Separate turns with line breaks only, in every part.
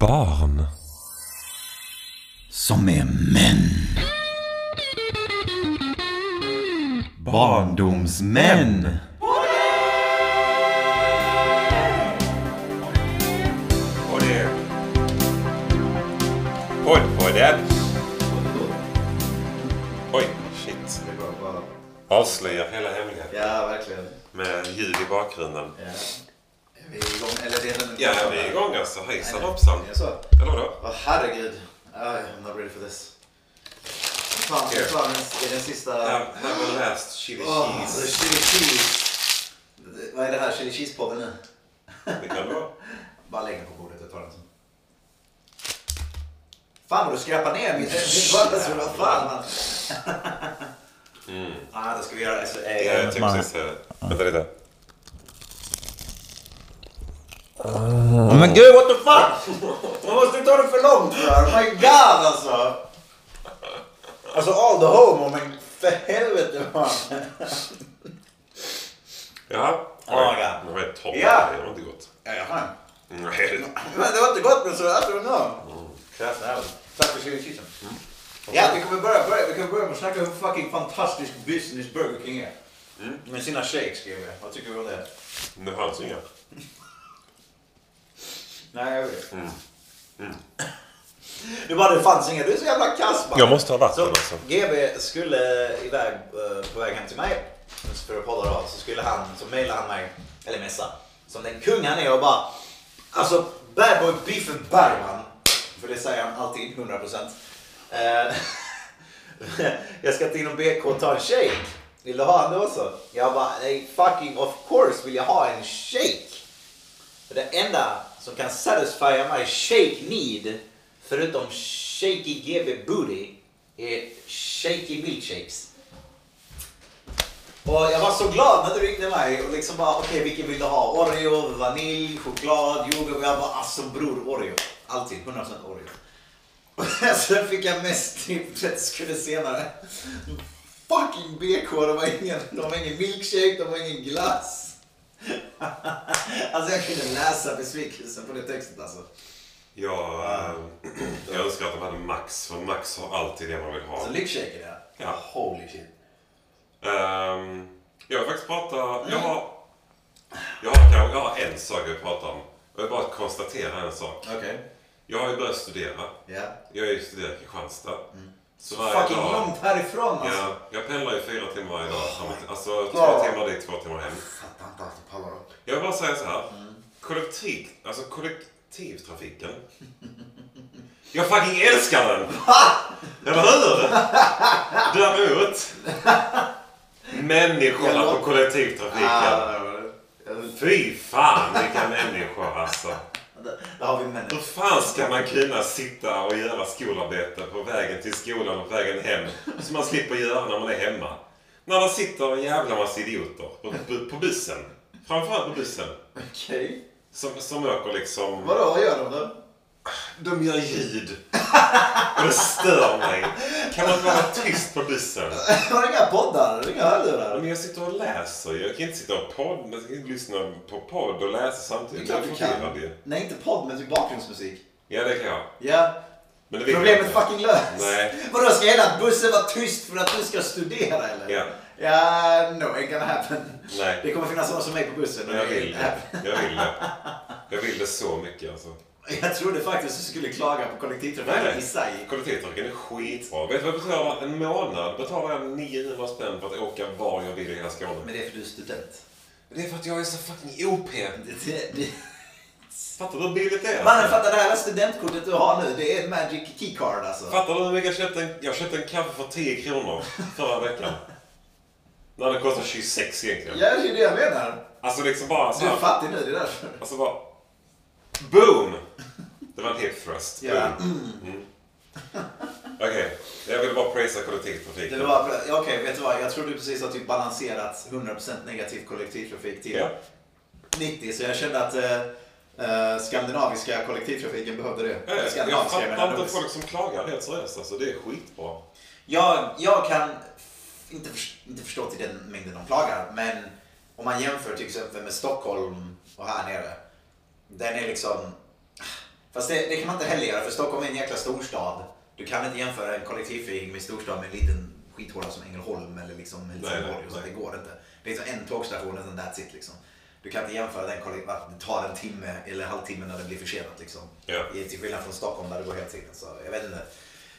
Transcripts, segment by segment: barn.
Som är män. Barndomsmän.
Och det... Oj, oj, det... Oj, shit. Det var bara... Avslöjar hela hemligheten
Ja, verkligen.
med ljud i bakgrunden.
Ja. Är vi igång? Eller det är den
Ja, vi är igång alltså. Hejsan hoppsan.
Är det så?
Eller vadå?
Åh herregud. Ah, I'm not ready for this. Fan, det är fan den, är den sista...
Ja, Have a last chili
Åh, the
cheese.
chili cheese. Det- Vad är det här? Chili cheese-podden nu?
Det kan det vara.
Bara lägg den på bordet. Jag tar den sen. Fan vad du skräpar ner mitt mitt vardagsrum. Vad fan. Ah, då ska vi göra det. Så, eh,
Ja, jag tycker precis eh, Vänta lite.
Men gud, what the fuck! Man måste inte ta det för långt för. Oh my god alltså! Alltså all the homo, men för helvete man.
Jaha.
Ja,
Oj,
ja.
Det var ett topp.
Ja.
Det var inte gott.
Jaha.
Nej, det-
Men det var inte gott, men så I don't know. Tack för Mm. chili cheesen. Ja, vi kommer börja, börja, vi kommer börja med att snacka hur fucking fantastisk business Burger King är. Med sina shakes skrev jag. Vad tycker vi om det?
Nu hörs inga.
Nej, jag vet. Mm. Du bara, det fanns inga. Du är så jävla kass man.
Jag måste ha vatten
Så,
alltså.
GB skulle iväg eh, på väg hem till mig för att podda då, så skulle han, så mejlade han mig, eller messa, som den kung han är och bara alltså bad boy beefen Bergman, för det säger han alltid 100%. Eh, jag ska till inom BK och ta en shake. Vill du ha en då så? Jag bara, nej fucking of course vill jag ha en shake. För det enda som kan satisfiera my shake need, förutom shaky GB booty, är shaky milkshakes. Och jag var så glad när du ringde mig och liksom bara okej vilken vill du ha? Oreo, vanilj, choklad, yoghurt. Och jag bara alltså bror Oreo. Alltid 100% Oreo. Och sen fick jag mest typ 30 sekunder senare. Fucking BK, de har ingen, de har ingen milkshake, de har ingen glass. alltså jag kunde läsa besvikelsen på den texten alltså.
Jag, eh, jag önskar att de hade Max, för Max har alltid det man vill ha.
Så lyckshaken ja.
Ja.
Holy shit.
Ehm, jag vill faktiskt prata...
Mm.
Jag har, jag, har, kanske- jag har en sak jag vill prata om. Jag vill bara konstatera en sak.
Okej.
Jag har ju börjat studera.
Ja.
Jag är ju studerat i Kristianstad. Så
Mm. Fucking långt härifrån alltså.
Ja, jag pendlar ju fyra timmar varje dag. fram och till- Alltså två
Ja.
timmar dit, två timmar hem.
Fattar inte alls, pallar upp.
Jag vill bara säga så här. Kollektiv, alltså kollektivtrafiken. Jag fucking älskar den! Eller hur? Däremot. Människorna på kollektivtrafiken.
Ah, där var det.
Fy fan vilka människor alltså.
Där- Där har vi männen.
Hur fan ska man kunna sitta och göra skolarbete på vägen till skolan och vägen hem som man slipper göra när man är hemma? När det sitter en jävla massa idioter på, på, på bussen. Framförallt på bussen.
Okej.
Som, som åker liksom...
Vadå, vad gör de då?
De gör ljud. Och det stör mig. Kan man vara tyst på bussen?
Har du inga poddar? Har du inga
Ja,
hörlurar?
Men jag sitter och läser ju. Jag kan inte sitta och podd, jag kan inte lyssna på podd och läsa samtidigt. Jag är förvirrad ju.
Nej, inte podd, men typ bakgrundsmusik.
Ja, det kan jag.
Ja.
Men det vill jag
Problemet
inte.
fucking löst.
Nej.
Vadå, ska hela bussen vara tyst för att du ska studera eller?
Ja.
Ja, no, it gonna happen.
Nej.
Det kommer finnas någon som mig på bussen.
Men jag vill det. Jag vill det. Jag vill det så mycket alltså.
Jag trodde faktiskt att du skulle klaga på kollektivtrafiken i sig.
Kollektivtrafiken är skitbra. Vet du vad jag betalar? En månad betalar jag 900 spänn för att åka var jag vill i hela Skåne.
Men det är för du är student.
Det är för att jag är så fucking OP.
Det, det, det.
Fattar du hur billigt det är?
Mannen fattar det här studentkortet du har nu, det är ett magic keycard alltså.
Fattar du hur mycket jag köpte? En, jag köpte en kaffe för 10 kronor förra veckan. När den kostar 26 egentligen.
Ja, det är det jag menar.
Alltså liksom bara så
Du är
här.
fattig nu, det är därför.
Alltså bara... Boom! Det var en hip thrust. Boom.
Ja.
Mm. Okej, jag ville bara prisa
Det
kollektivtrafiken.
var, ja, okej, vet du vad? Jag tror du precis har typ balanserat 100% negativ kollektivtrafik till
Ja.
90, så jag kände att eh, eh, skandinaviska kollektivtrafiken behövde det.
Ja, ja. Eh, Jag
skandinaviska menar
fattar inte
nordisk.
folk som klagar helt seriöst. Alltså, det är skitbra.
Jag, jag kan f- inte, förs- inte förstå till den mängden de klagar, men om man jämför till exempel med Stockholm och här nere. Den är liksom... Fast det, det kan man inte heller göra för Stockholm är en jäkla storstad. Du kan inte jämföra en kollektivtrafik med en storstad med en liten skithåla som Ängelholm eller liksom
nej,
Helsingborg. och så.
nej.
Det går inte. Det är liksom en tågstation och sen that's it liksom. Du kan inte jämföra den kollektiv... att Det tar en timme eller en halvtimme när det blir försenat liksom.
Ja.
I- Till skillnad från Stockholm där det går hela tiden. Så jag vet inte.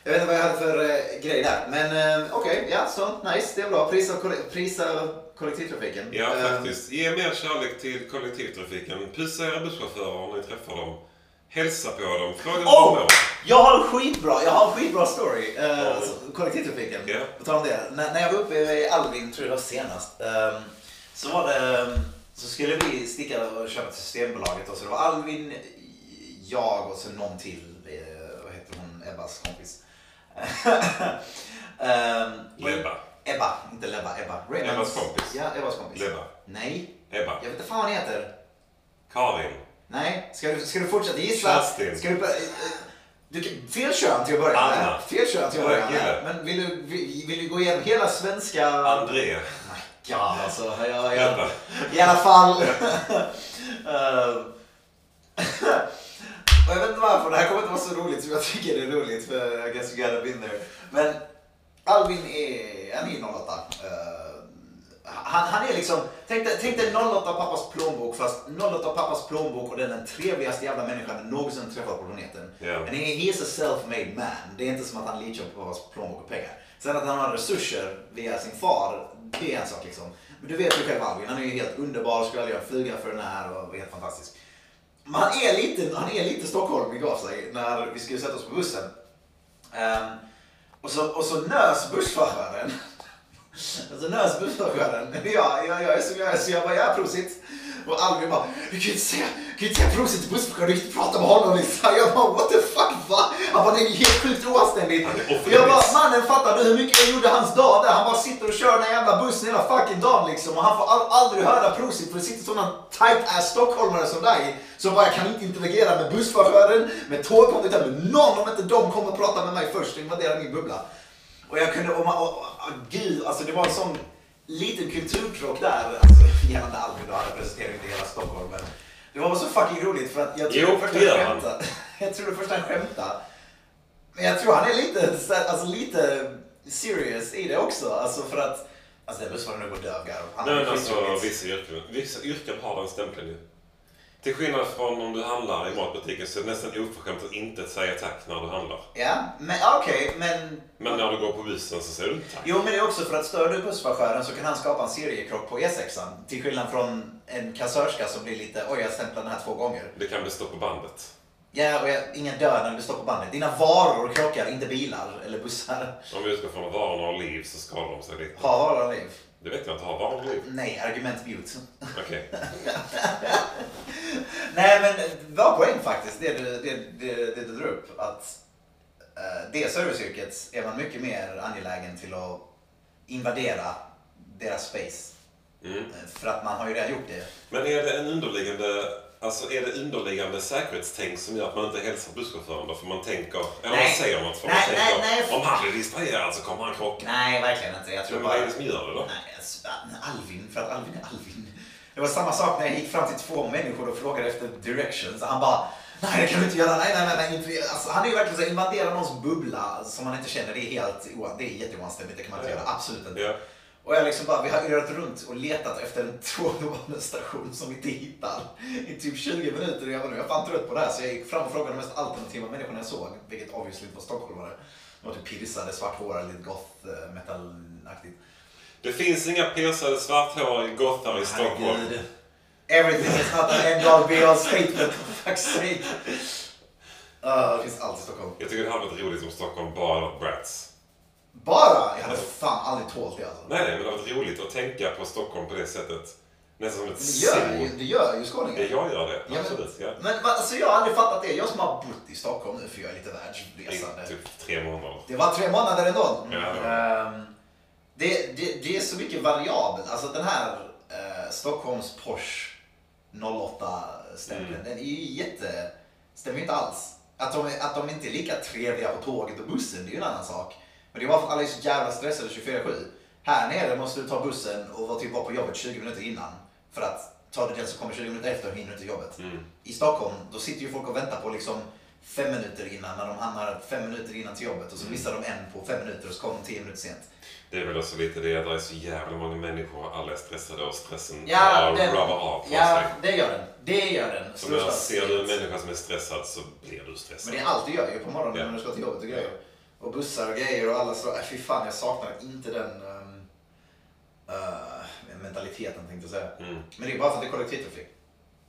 Jag vet inte vad jag hade för eh, grej där. Men eh, okej, ja, så nice. Det är bra. Prisa, kolle- prisa kollektivtrafiken.
Ja,
Eh,
faktiskt. Ge mer kärlek till kollektivtrafiken. Pussa era busschaufförer om ni träffar dem. Hälsa på dem. Fråga dem
Åh!
oh!
Jag har en skitbra, jag har en skitbra story. Eh,
Ja.
alltså, kollektivtrafiken.
Ja.
På tal om det. När, när jag var uppe i Alvin, tror jag det var senast. ehm, så var det, ehm, så skulle vi sticka och köpa till Systembolaget. Och så det var Alvin, jag och så någon till. eh, vad heter hon? Ebbas kompis. Ehm,
Lebba.
Ebba, inte Lebba. Ebba. Raymonds-
Ebbas kompis.
Ja, Ebbas kompis.
Lebba.
Nej,
Ebba.
jag vet inte fan vad hon heter.
Karin.
Nej, ska du, ska du fortsätta gissa?
Kerstin.
Ska du, börja- du, kan- fel kön till att börja med.
Anna.
Fel kön till
Ja,
att börja med.
kille.
Men vill du, vill, vill du gå igenom hela svenska...
André.
God, alltså, jag, jag,
Ebba.
I alla fall. Eh, och jag vet inte varför, det här kommer inte vara så roligt som jag tycker det är roligt för I guess you gotta be there. Men Alvin är, han är ju 08. Eh, han, han är liksom, tänk dig, tänk dig 08 pappas plånbok fast 08 pappas plånbok och den är den trevligaste jävla människan jag någonsin träffat på planeten.
Ja.
Men he, he is a self-made man. Det är inte som att han leachar på pappas plånbok och pengar. Sen att han har resurser via sin far, det är en sak liksom. Men du vet ju själv Alvin, han är ju helt underbar, skulle aldrig göra en fluga för den här och är helt fantastisk. Men han är lite, han är lite Stockholmig av sig när vi skulle sätta oss på bussen. Ehm, och, så, och så nös bussföraren. Alltså nös bussföraren. Jag, jag, jag är så jag är så jag bara, ja prosit. Och Albin bara, du kan ju inte säga, du kan ju inte säga prosit till bussföraren, du kan ju inte prata med honom liksom. Jag bara, what the fuck va? Han bara, det är ju helt sjukt oanständigt.
Han är offer-
Jag bara, Alltså, mannen fattar du hur mycket jag gjorde hans dag där? Han bara sitter och kör den här jävla bussen hela fucking dagen liksom. Och han får all, aldrig höra prosit för det sitter sådana tight ass stockholmare som dig. Som bara, jag kan inte interagera med bussföraren, med tågkonduktören, med någon om inte de kommer och pratar med mig först och invaderar min bubbla. Och jag kunde, och, man- och, och, och gud, alltså det var en sån liten kulturkrock där. Alltså gällande Albin då, han representerar inte hela Stockholm. Men det var så fucking roligt för att jag
Jo,
trodde först
det
han
gör han.
skämtade. Jag trodde först han skämtade. Men jag tror han är lite, så här, alltså, lite serious i det också. Alltså för att... Alltså den bussföraren nu går dövgarv. Han
Nej,
har
men alltså,
skitjobbigt.
vissa, yrken, vissa yrken har den stämpeln ju. Till skillnad från om du handlar i matbutiken så är det nästan oförskämt att inte säga tack när du handlar.
Ja, men ja, okej, men...
Men när du går på bussen så säger du inte tack.
Jo, men det är också för att stör du bussföraren så kan han skapa en seriekrock på E6an. Till skillnad från en kassörska som blir lite, oj jag stämplar den här två gånger.
Det kan bli stopp på bandet.
Ja, och jag, ingen död när du står på bandet. Dina varor krockar, inte bilar eller bussar.
Om vi utgår från att varorna har liv så skadar de sig lite.
Har varor liv?
Det vet jag inte. Har varorna liv?
Nej, argument mute.
Okej.
Nej, men bra poäng faktiskt, det du, det, det, det du drar upp. Att eh, det serviceyrket är man mycket mer angelägen till att invadera deras space.
Mm.
Eh, För att man har ju redan gjort det.
Men är det en underliggande, alltså är det underliggande säkerhetstänk som gör att man inte hälsar busschauffören då? För man tänker, eller
Nej.
man säger något för man
Nej,
tänker,
nej, nej.
om han blir distraherad så kommer han krocka.
Nej, verkligen inte. Jag tror
Men vad
bara...
är det som gör det då?
Nej, alltså, Alvin, för att Alvin är Alvin. Det var samma sak när jag gick fram till två människor och frågade efter directions. Han bara, nej det kan du inte göra, nej nej nej. nej inte. Alltså, han är ju verkligen så här, invadera någons bubbla som man inte känner. Det är helt oa- det är jätteoanständigt, det kan man inte
Ja.
göra, absolut inte.
Ja.
Och jag liksom bara, vi har irrat runt och letat efter en tågbanestation som vi inte hittar i typ 20 minuter. Och jag var nu, jag är fan trött på det här. Så jag gick fram och frågade de mest alternativa människorna jag såg, vilket obviously inte var stockholmare. De var typ pirsade, svarthåriga, lite goth, eh, metal-aktigt.
Det finns inga piercade svarthåriga gothar i Stockholm.
Herregud. Everything is not an end all be all statement, for fuck's sake. Uh, det finns allt i Stockholm.
Jag tycker det hade varit roligt om Stockholm bara hade varit brats.
Bara? Jag hade fan aldrig tålt det alltså.
Nej, nej, men det hade varit roligt att tänka på Stockholm på det sättet. Nästan som ett
Men det gör ju,
zoo.
det gör ju
Ja,
skåningar.
Jag gör det,
Ja,
absolut. Ja.
Men va, alltså, jag har aldrig fattat det. Jag som har bott i Stockholm nu för jag är lite
I
världsresande.
typ tre månader.
Det var tre månader ändå.
Ja.
Ehm, det, det, det är så mycket variabelt. Alltså den här eh, Stockholms Porsche 08-stämpeln,
Mm.
den är ju jätte... Stämmer ju inte alls. Att de, att de inte är lika trevliga på tåget och bussen, det är ju en annan sak. Men det är bara för att alla är så jävla stressade 24-7. Här nere måste du ta bussen och vara tillbaka på jobbet 20 minuter innan. För att tar du den som kommer 20 minuter efter hinner du inte jobbet.
Mm.
I Stockholm, då sitter ju folk och väntar på liksom fem minuter innan när de hamnar fem minuter innan till jobbet och så missar de en på fem minuter och så kommer de tio minuter sent.
Det är väl också lite det att det är så jävla många människor och alla är stressade och stressen
Ja,
bara
den,
rubbar av på
ja
sig.
det gör den. Det gör den.
Om jag
Storstad-
ser du en människa som är stressad så blir du stressad.
Men det är allt du gör ju på morgonen
Ja.
när du ska till jobbet och grejer. Och bussar och grejer och alla så. Äh, fy fan, jag saknar inte den ehm, eh, mentaliteten tänkte jag säga.
Mm.
Men det är bara för att det är kollektivtrafik.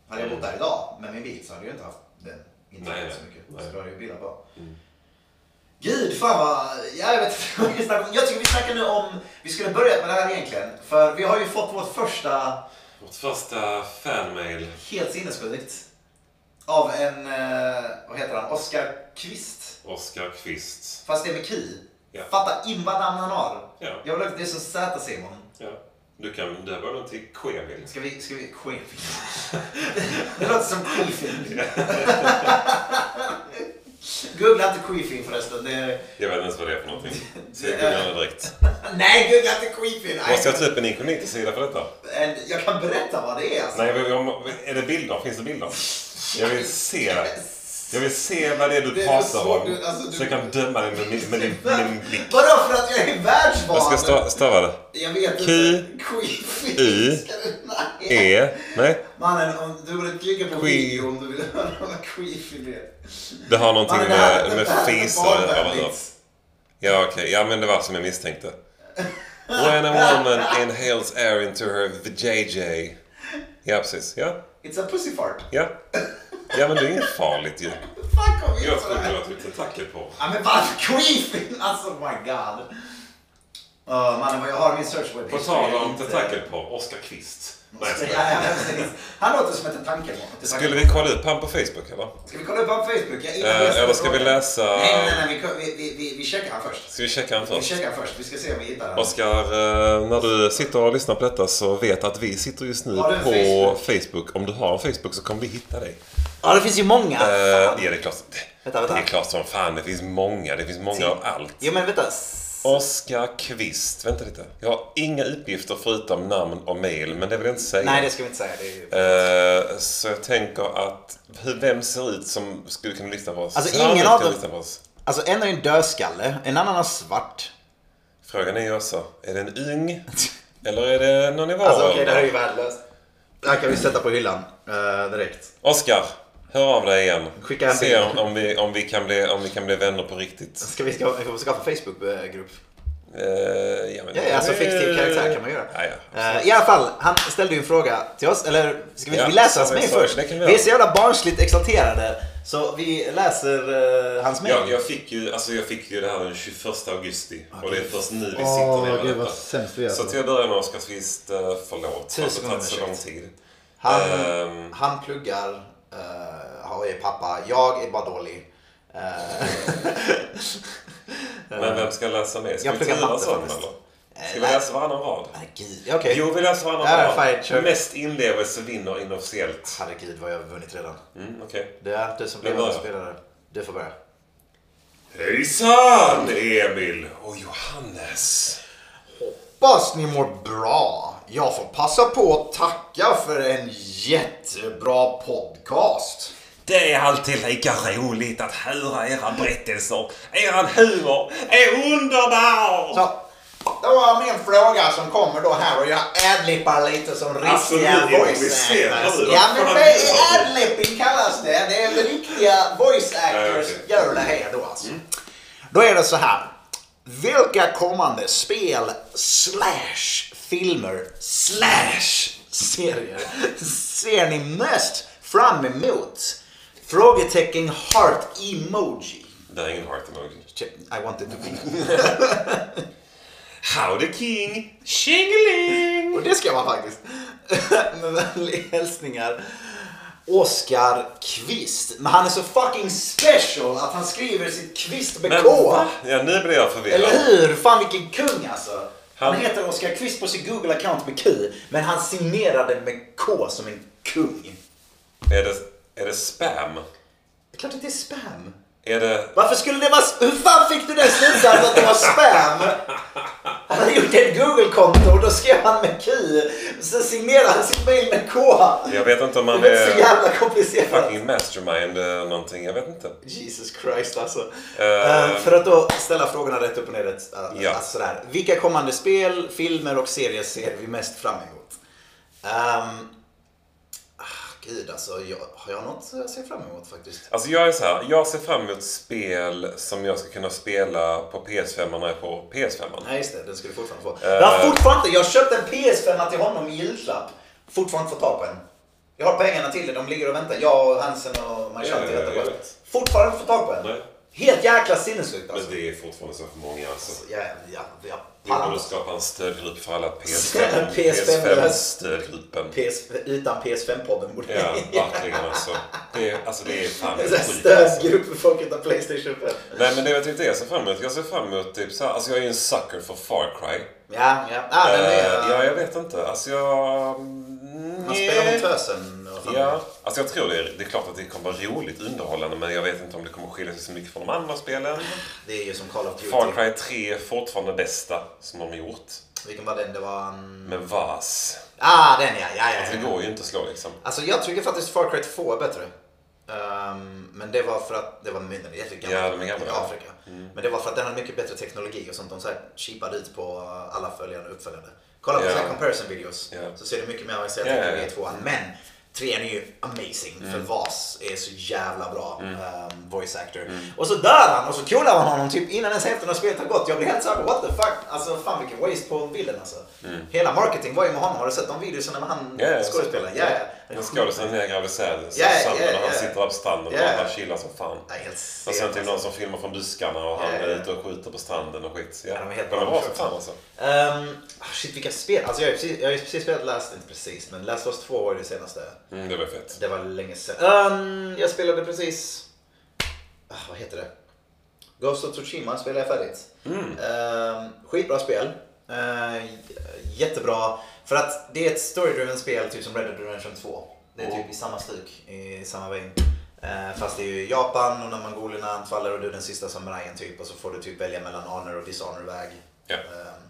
Hade jag bott
Mm.
där idag med min bil så hade jag inte haft den
Nej,
intrycket så
nej.
mycket.
Nej.
Så då hade jag bilat bara.
Mm.
Gud, fan vad... Ja, jag vet inte vad vi snackar om. Jag tycker vi snackar nu om... Vi skulle börjat med det här egentligen. För vi har ju fått vårt första
Vårt första fanmail.
helt sinnessjukt av en... eh, Vad heter han? Oskar Kvist.
Oskar Kvist.
Fast det är med Q.
Ja.
Fatta in vad namn han har.
Ja,
Jag vill, det är som Z Simon.
ja. Du kan döpa den till Quevil.
Ska vi... Ska vi... Queefing. det låter som Queefing. Googla inte Queefing förresten. Det är...
Jag vet inte ens vad det är för någonting. Så jag googlar det direkt.
Nej, googla inte Queefing.
Måste
Nej.
jag ta upp en inkognito-sida för detta?
En- Jag kan berätta vad det är. Alltså.
Nej, men om, är det bilder? Finns det bilder? Jag vill se. Jag vill se vad det är
Det
du
är
pratar
så-
om.
du- alltså, du-
Så jag kan döma dig med min, med din, med din blick.
Vadå för att jag är världsvan?
Jag ska sta- stava det.
Jag vet
Q-
inte. Queefing.
I-
Ska du- Nej.
E. Nej.
Mannen, om du borde klicka på
Que-
video om du vill höra vad Queefing är.
Det har någonting
Mannen, det här-
med, med
det här är
fis
bara
att göra.
en
eller?
vits.
Ja, okej. Ja, men det var som jag misstänkte. When a woman inhales air into her vajayjay. Ja, precis. Ja,
It's a pussy fart.
ja. Ja, men det är inget farligt ju.
Fan kom in
Jag
på
trodde
det
det
här.
var typ tentakelporr.
Ja men vad creepy! Alltså my god. Uh, mannen vad jag har i min search web.
På tal om tentakelporr, Oskar Kvist. Nej, jag
Ja,
skojar.
ja, precis. Han låter som ett tankemål.
Skulle vi kolla upp han på Facebook eller?
Ska vi kolla upp honom på Facebook? Jag innan jag
Eh,
ställer
eller ska vi
frågan.
läsa...
Nej, nej, nej, vi, ko- vi, vi, vi, vi checkar han först.
Ska vi checka han
Vi
först?
checkar han först, vi ska se om vi hittar honom.
Oskar, eh, när du sitter och lyssnar på detta så vet att vi sitter just nu
Har du en
på Facebook. Om du har en Facebook så kommer vi hitta dig.
Ja, det finns ju många.
Eh, ja, det är klart.
Vänta, vänta.
Det är klart som fan. Det finns många. Det finns många av allt.
Jo men vänta.
Oskar Kvist. Vänta lite. Jag har inga uppgifter förutom namn och mail, men det vill jag inte säga.
det ska vi inte säga. Det är ju...
Eh, så jag tänker att hur- vem ser ut som skulle kunna lyssna på oss?
Alltså,
Sannolikt
ingen av
kan
dem-
lyssna på oss.
Alltså en är en dödskalle, en annan har svart.
Frågan är ju också, är det en ung? Eller är det någon i var?
Alltså okej, det här är ju värdelöst. Det här kan vi sätta på hyllan eh, direkt.
Oskar, hör av dig igen.
Skicka en
Se
bild.
om, om, vi, om, vi kan bli, om vi kan bli vänner på riktigt.
Ska vi ska, ska vi skaffa Facebookgrupp?
Eh, ja, men,
Ja, ja, alltså fiktiv karaktär kan man göra.
Ja, ja.
Eh, I alla fall, han ställde ju en fråga till oss, eller ska vi,
Ja,
vi läser hans
så-
mejl
så-
först?
det kan vi
är
göra.
så jävla barnsligt exalterade, så vi läser eh, hans mejl.
Jag, jag, fick ju, alltså jag fick ju det här den 21 augusti
Ah,
och det är först nu vi sitter ner med detta.
sämst vi
Så till att börja med Oskar Kvist, eh, förlåt för att det har tagit så lång tid.
Han,
Ehm.
han pluggar, eh, han är pappa, jag är bara dålig. Eh,
Men vem ska läsa med? Ska
Jag
vi
pluggar
turas
matte
om
faktiskt.
eller?
Eh,
Ska vi
nej.
läsa varannan rad?
herregud, okej.
Jo, vi läser
Ja,
varannan
fine, kör.
rad. Mest inlevelse vinner inofficiellt.
Herregud vad jag har vunnit redan.
Mm, Okej.
Det är du som
Vem
blev
börjar?
spelare. Du får börja.
Hejsan Emil och Johannes.
Hoppas ni mår bra. Jag får passa på att tacka för en jättebra podcast.
Det är alltid lika roligt att höra era berättelser. Eran humor är underbar!
Så, det var min fråga som kommer då här och jag adlippar lite som
Alltså,
riktiga
nu är vi
voice
ser,
actors.
hörru,
Ja
vad fan
men det
är det?
är adlipping kallas det. Det är väl riktiga voice actors
Ja, okej. Mm.
gör det här då alltså. Då är det så här. Vilka kommande spel slash filmer slash serier ser ni mest fram emot? Frågetecken heart emoji.
Det är ingen heart emoji.
Check, I wanted to be.
Howdy King! Tjingeling!
Och det ska man faktiskt. Med vänliga hälsningar. Oskar Kvist. Men han är så fucking special att han skriver sitt Kvist med K.
Ja, nu blir jag
Eller
förvirrad.
hur? Fan vilken kung alltså. Han
Han-
heter Oskar Kvist på sin Google account med Q. Men han signerade med K som en kung.
Är det, är det spam?
Det är klart att det är spam.
Är det...
Varför skulle det vara... Hur fan fick du den slutsatsen att det var spam? Han hade gjort ett Google-konto och då skrev han med Q. Sen signerade han sitt mail med K.
Jag vet inte om
Det
han
är så
är
jävla komplicerat.
fucking mastermind eller någonting. Jag vet inte.
Jesus Christ alltså.
Eh,
Eh, för att då ställa frågorna rätt upp och ner. Rätt, eh,
Ja.
alltså sådär. Vilka kommande spel, filmer och serier ser vi mest fram emot? Ehm, ah, gud alltså, jag, har jag något jag ser fram emot faktiskt?
Alltså jag är så här, jag ser fram emot spel som jag ska kunna spela på PS5 när jag får PS5.
Nej just det, den ska du fortfarande få.
Eh.
jag har fortfarande inte, jag köpte en PS5 till honom i julklapp. Fortfarande inte fått tag på en. Jag har pengarna till det, de ligger och väntar. Jag och Hansen och Marchanti
Ja, ja, ja,
väntar
jag
på det.
vet.
Fortfarande inte fått tag på en.
Nej.
Helt jäkla sinnessjukt
Men
alltså.
det är fortfarande så för många alltså.
Ja, ja, ja.
Vi
Pallar
borde
inte.
skapa en stödgrupp för alla PS5.
PS5
PS5-stödgruppen.
PS, utan PS5-podden borde
Ja, verkligen alltså. Det är, alltså det är fan
Det är
sjukt.
en
alltså.
sån här Stödgrupp för folk utan Playstation 5.
Nej men det vet jag inte jag ser fram emot. Jag ser fram emot typ så här, alltså jag är ju en sucker för Far Cry.
Ja, ja. Ah, den
Eh, ja,
är,
jag vet inte. Alltså jag...
man spelar mot tösen. och fan.
Ja, alltså jag tror det är, det är klart att det kommer vara roligt underhållande men jag vet inte om det kommer skilja sig så mycket från de andra spelen.
Det är ju som Call of
Far
Duty.
Cry 3 är fortfarande bästa som de gjort.
Vilken var den? Det var en...
Men VAS.
Ah, den ja. ja, ja,
Alltså det
ja.
går ju inte att slå liksom.
Alltså jag tycker faktiskt Far Cry 2 är bättre. Ehm, men det var för att det var mindre. Jag fick
Ja, de är gamla. Mm.
i Afrika. Men det var för att den hade mycket bättre teknologi och sånt. De så här chipade ut på alla följande och uppföljande. Kolla på
Ja.
så här comparison videos
Ja.
så ser det mycket mer avancerad
Ja, ja,
teknologi
ja. Mm.
i tvåan. Men trean är ju amazing för VAS är så jävla bra ehm, voice actor.
Mm.
Och så dör han och så coolar man honom typ innan ens hälften av spelet har gått. Jag blir helt såhär what the fuck. Alltså fan vilken waste på bilden alltså.
Mm.
Hela marketing var ju med honom. Har du sett de videorna med han
Ja, ja, jag har sett
skådespelaren? Ja, ja. Han är
Men skådisen är graviserad.
Ja, ja,
Sandra när han
ja.
sitter där på stranden
Ja.
och alla chillar som fan.
Nej, helt
Och sen
sent.
till någon som filmar från buskarna och han
Ja, ja.
är ute och skjuter på stranden och skit. Ja,
Ja, de är helt
Men bra som
vansinnigt.
fan alltså.
Ehm, ah, shit, vilka spel. Alltså, jag har ju precis, jag har ju precis spelat Last, inte precis, men Last of Us 2 var ju det senaste.
Mm, det var fett.
Det var länge sedan. Ehm, jag spelade precis, ah, vad heter det? Ghost of Tsushima spelade jag färdigt. Ehm, skitbra spel. Ehm, jättebra. För att det är ett storydriven spel, typ som Red Dead Redemption 2. Det är typ i samma stuk, i samma väg. Eh, Fast det är ju Japan och när mongolerna anfaller och du är den sista samurajen typ och så får du typ välja mellan honor och dishonor väg.
Ja.
Ehm,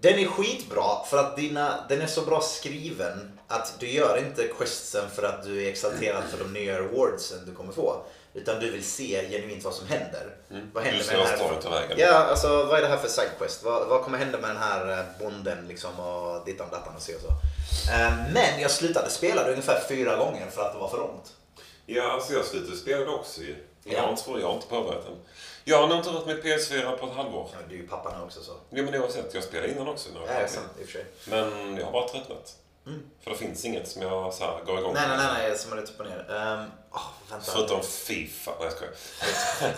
Den är skitbra för att dina, den är så bra skriven att du gör inte questsen för att du är exalterad för de nya rewardsen du kommer få. Utan du vill se genuint vad som händer. Vad
Mm. Du
händer
ser
med den
vad
här
storyn tar vägen.
Ja, alltså vad är det här för sidequest? Vad, vad kommer hända med den här eh, bonden liksom och dittan och dattan och så och så. Eh, Men jag slutade spela det ungefär fyra gånger för att det var för långt.
Ja, alltså jag slutade spela också ju. Jag
Ja.
har inte, jag har inte påbörjat den. Jag har nog inte rört mitt PS4 på ett halvår.
Ja, Du är ju pappa nu också så.
Jo, men oavsett. Jag spelade innan också. några
Ja, det är
gånger.
sant i och för sig.
Men jag har bara tröttnat. För det finns inget som jag så här, går igång
Nej,
på.
nej, nej, nej, som är rätt upp och ner. Ehm, åh, vänta.
Förutom Fifa. Nej, jag skojar.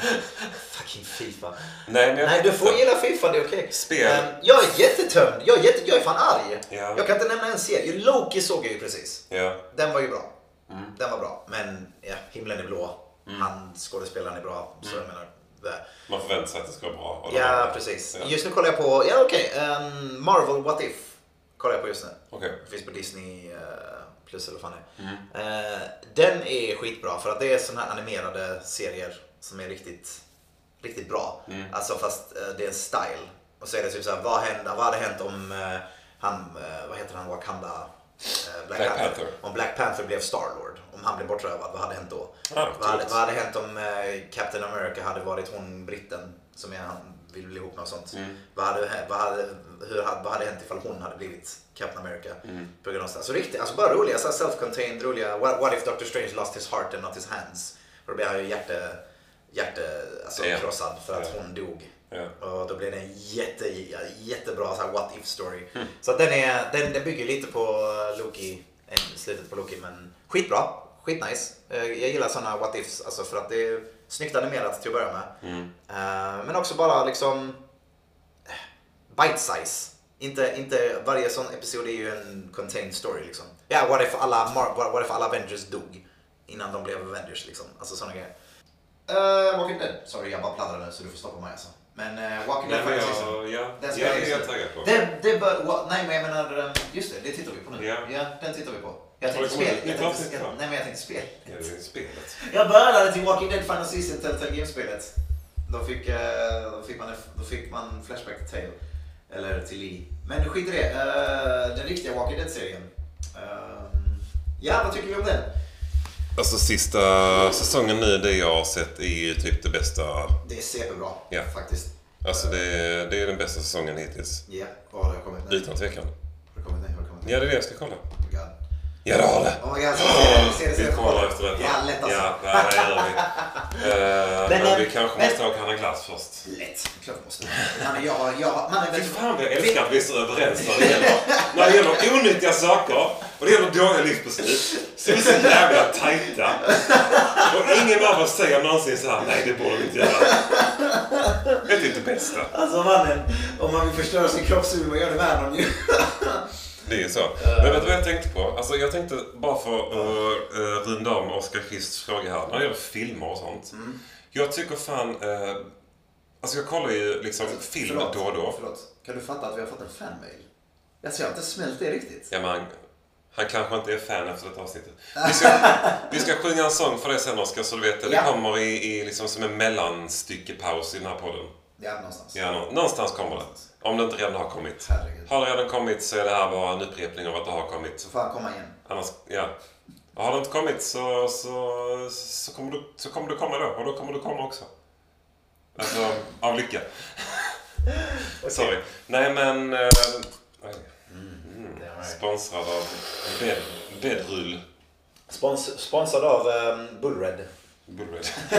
Fucking Fifa.
Nej, men jag
Nej,
vet
du får
inte.
gilla Fifa, det är okej.
Spel.
Ehm, jag är jättetömd. Jag är, jätte, jag är fan arg.
Ja.
Jag kan inte nämna en serie. Loki såg jag ju precis.
Ja. Mm.
Den var ju bra. Den var bra. Men ja, himlen är blå. Han, skådespelaren är bra. Så
Mm.
jag menar, det.
Man förväntar sig att det ska vara bra. och det var
Ja,
bra.
precis.
Ja.
Just nu kollar jag på, ja okej, ehm, Marvel What If. Kollar jag på just nu.
Okej.
Finns på Disney eh, plus eller vad fan det
Mm.
är. Eh, Den är skitbra för att det är såna här animerade serier som är riktigt, riktigt bra.
Mm.
Alltså fast eh, det är en style. Och så är det typ såhär, vad, hände, vad hade hänt om eh, han, eh, vad heter han, Wakanda? eh, Black,
Black
Panther.
Panther.
Om Black Panther blev Star-Lord, om han blev bortrövad, vad hade hänt då?
Ah,
vad, hade,
coolt.
vad hade hänt om eh, Captain America hade varit hon britten som är han vill bli ihop med och sånt? Vad, hade, vad, hade, hur, hade- vad hade hänt ifall hon hade blivit Captain America? På grund av sånt. Alltså, riktigt, alltså bara roliga, så här self-contained, roliga. What, what if Doctor Strange lost his heart and not his hands? Och då blev han ju hjärte, hjärte, alltså,
Damn.
krossad för att
Ja.
hon dog.
Ja.
Och då blir det en jätte, jättebra så här what if story.
Mm.
Så att den, är, den, den bygger lite på eh, Loki, eh, slutet på Loki, men skitbra. Skitnice. Eh, Jag gillar sådana what ifs, alltså för att det är snyggt animerat till att börja med.
Mm.
Eh, Men också bara liksom eh, bite size. Inte, inte varje sån episod är ju en contained story liksom. Ja, what if alla, Mar- what- what if alla Avengers dog innan de blev Avengers liksom. Alltså sådana grejer. Uh, Walking Dead. Sorry, jag bara pladdrade så du får stoppa mig alltså. Men eh, Walking
Nej,
Dead
men
faktiskt.
jag, ja,
Den
jag,
spelar
jag
just nu.
är taggad på.
Det, det bör, wa- nej men jag menar, eh, just det, det tittar vi på nu.
Ja.
Ja, den tittar vi på. Jag
Har det
tänkte
kommit
spel.
ett
Jag
nytt
tänkte,
avsnitt
jag,
då?
nej men jag tänkte spel.
Ja, det är spelet.
Jag började till Walking Dead Final Season Telltale Game-spelet. Då fick, eh, då, fick man, då fick man Flashback Tale. Eller till Lee. Men skit i det. Eh, den riktiga Walking Dead-serien. Ehm, ja, vad tycker vi om den?
Alltså sista säsongen nu, det jag har sett är ju typ det bästa.
Det är superbra
Ja.
faktiskt.
Alltså det, det är den bästa säsongen hittills.
Ja, vad har det kommit nu?
Utan tvekan.
Har det kommit nu? Har det kommit nu?
Ja, det är det jag ska kolla.
Oh my god.
Ja, det har det!
Oh my god, se det, se det, se
Vi
det.
kollar efter detta.
Ja, lätt alltså.
Ja, nej, det gör vi. Eh,
Men,
men
eh,
vi kanske
men-
måste ha Kalle Glass först.
Lätt, klart vi måste. Mannen, jag, jag, mannen,
Fy
vet du-
fan vad jag älskar att vi är så överens när det gäller, när det gäller onyttiga saker och det gäller dåliga livsbeslut. Så vi är så jävla tajta. Och ingen av oss säger någonsin så här, nej det borde vi inte göra. Det är typ det bästa.
Alltså mannen, om man vill förstöra sin kroppshumor gör det med honom ju.
Det är ju
Eh.
så. Men vet du vad jag tänkte på? Alltså jag tänkte bara för att uh, runda om Oskar Krists fråga här. När det gäller filmer och sånt.
Mm.
Jag tycker fan... eh, alltså jag kollar ju liksom film
Förlåt,
då och då.
Förlåt, kan du fatta att vi har fått en fanmail? Alltså jag har inte smält det riktigt.
Ja, men han, han kanske inte är fan efter detta avsnittet. Vi ska, vi ska sjunga en sång för dig sen Oskar, så du vet det. Det
Ja.
kommer i, i liksom som en mellanstyckepaus i den här podden.
Ja, någonstans.
Ja, nå- någonstans kommer det. Om det inte redan har kommit.
Herregud.
Har det redan kommit så är det här bara en upprepning av att det har kommit.
Så får han komma igen.
Annars, ja. Och har det inte kommit så, så, så, kommer du, så kommer du komma då. Och då kommer du komma också. Alltså, av lycka. Sorry. Nej men... Eh, oj. sponsrad av bed, Bedrull.
Spons, sponsrad av um, Bullred.
Bullred.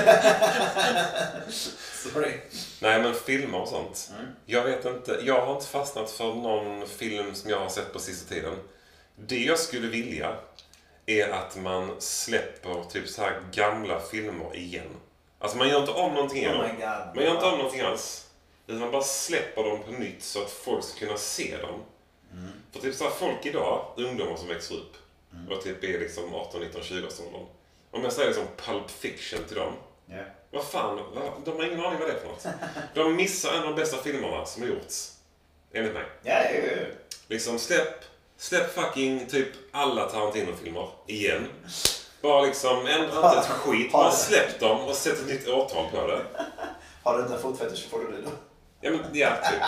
Sorry.
Nej men filmer och sånt.
Mm.
Jag vet inte. Jag har inte fastnat för någon film som jag har sett på sista tiden. Det jag skulle vilja är att man släpper typ så här gamla filmer igen. Alltså man gör inte om någonting
Oh
än.
my god.
Man gör inte om någonting alls. Utan man bara släpper dem på nytt så att folk ska kunna se dem. För typ så här, folk idag, ungdomar som växer upp och typ är liksom 18, 19, 20 års åldern. Om jag säger liksom Pulp Fiction till dem.
Ja.
Vad fan, vad, de har ingen aning vad det är för något. De missar en av de bästa filmerna som har gjorts. Enligt mig.
Ja, ju, ju.
Liksom släpp, släpp fucking typ alla Tarantino-filmer igen. Bara liksom ändra inte ett skit. Bara släpp dem och sätt ett nytt årtal på det.
Har du inte en fotfetisch så får du det då.
Ja, men, ja typ.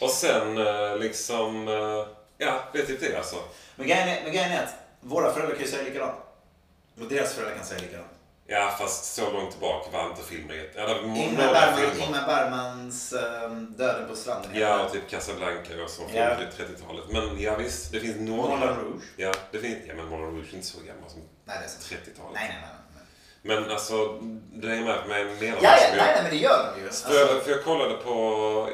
Och sen eh, liksom... eh, Ja, det är typ det alltså.
Men grejen är, men grejen är att våra föräldrar kan ju säga likadant. Och deras föräldrar kan säga likadant.
Ja, fast så långt tillbaka var inte filmer jätte- Ja, det var
Ingmar
några
Bergman,
filmer.
Ingmar Bergmans ehm, Döden på stranden.
Ja, och typ Casablanca och så från
Ja.
30-talet. Men ja, visst, det finns några.
Moulin Rouge.
Ja, det finns... Ja, men Moulin Rouge är inte så gammal som
Nej, det är sant.
30-talet.
Nej, nej, nej. nej.
Men alltså, du är med på mig mer
Ja, ja,
som jag-
nej, nej, men det gör de ju. Alltså,
För, jag, för jag kollade på...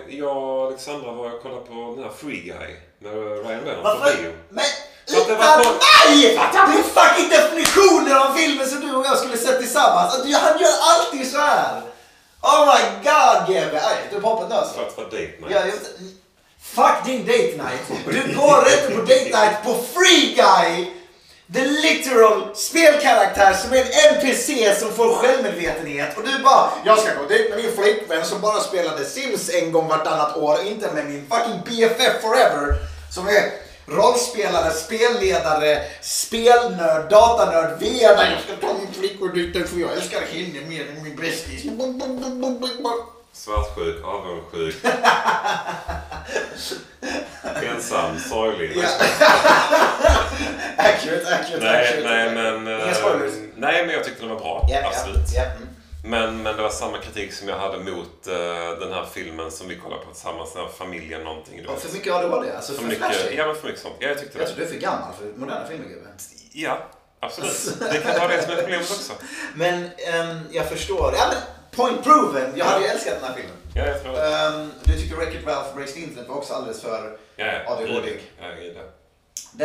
Jag och Alexandra var och kollade på den här Free Guy med Ryan Reynolds på
varför?
bio.
Men
Så att det
utan
var på-
mig! Det är fucking definitionen av filmen som du och jag skulle sett tillsammans. Att du- han gör alltid så här. Oh my god, GB. Aj, Du poppade nu alltså.
För att vara date night.
Jag, jag, fuck din date night. Du går inte på date night på Free Guy. The literal spelkaraktär som är en NPC som får självmedvetenhet och du bara Jag ska gå dit med min flickvän som bara spelade Sims en gång vartannat år inte med min fucking BFF forever som är rollspelare, spelledare, spelnörd, datanörd, VR. Jag ska ta min flickor dit för jag älskar henne mer än min bästis.
Svartsjuk, avundsjuk. Ensam, sorglig.
Ja. Accurate, accurate,
Nej,
accurate.
nej men... eh,
Inga spoilers.
Nej, men jag tyckte den var bra.
Ja, ja,
absolut.
ja, mm.
Men, men det var samma kritik som jag hade mot eh, den här filmen som vi kollade på tillsammans, den här familjen någonting. Du
Och
vet.
för mycket ADHD, alltså för,
För
för
mycket,
flashigt.
ja, men för mycket sånt. Ja, jag tyckte
Jag
det.
tror du är för gammal för moderna filmer gubbe.
Ja, absolut. Det kan vara det som är problemet också.
Men ehm, jag förstår. Ja, men point proven! Jag hade ju älskat den här filmen.
Ja, jag tror det.
Ehm, du tycker Wreck-It Ralph Breaks the Internet var också alldeles för
Ja, ja.
ADHD.
Ja, jag gillar det.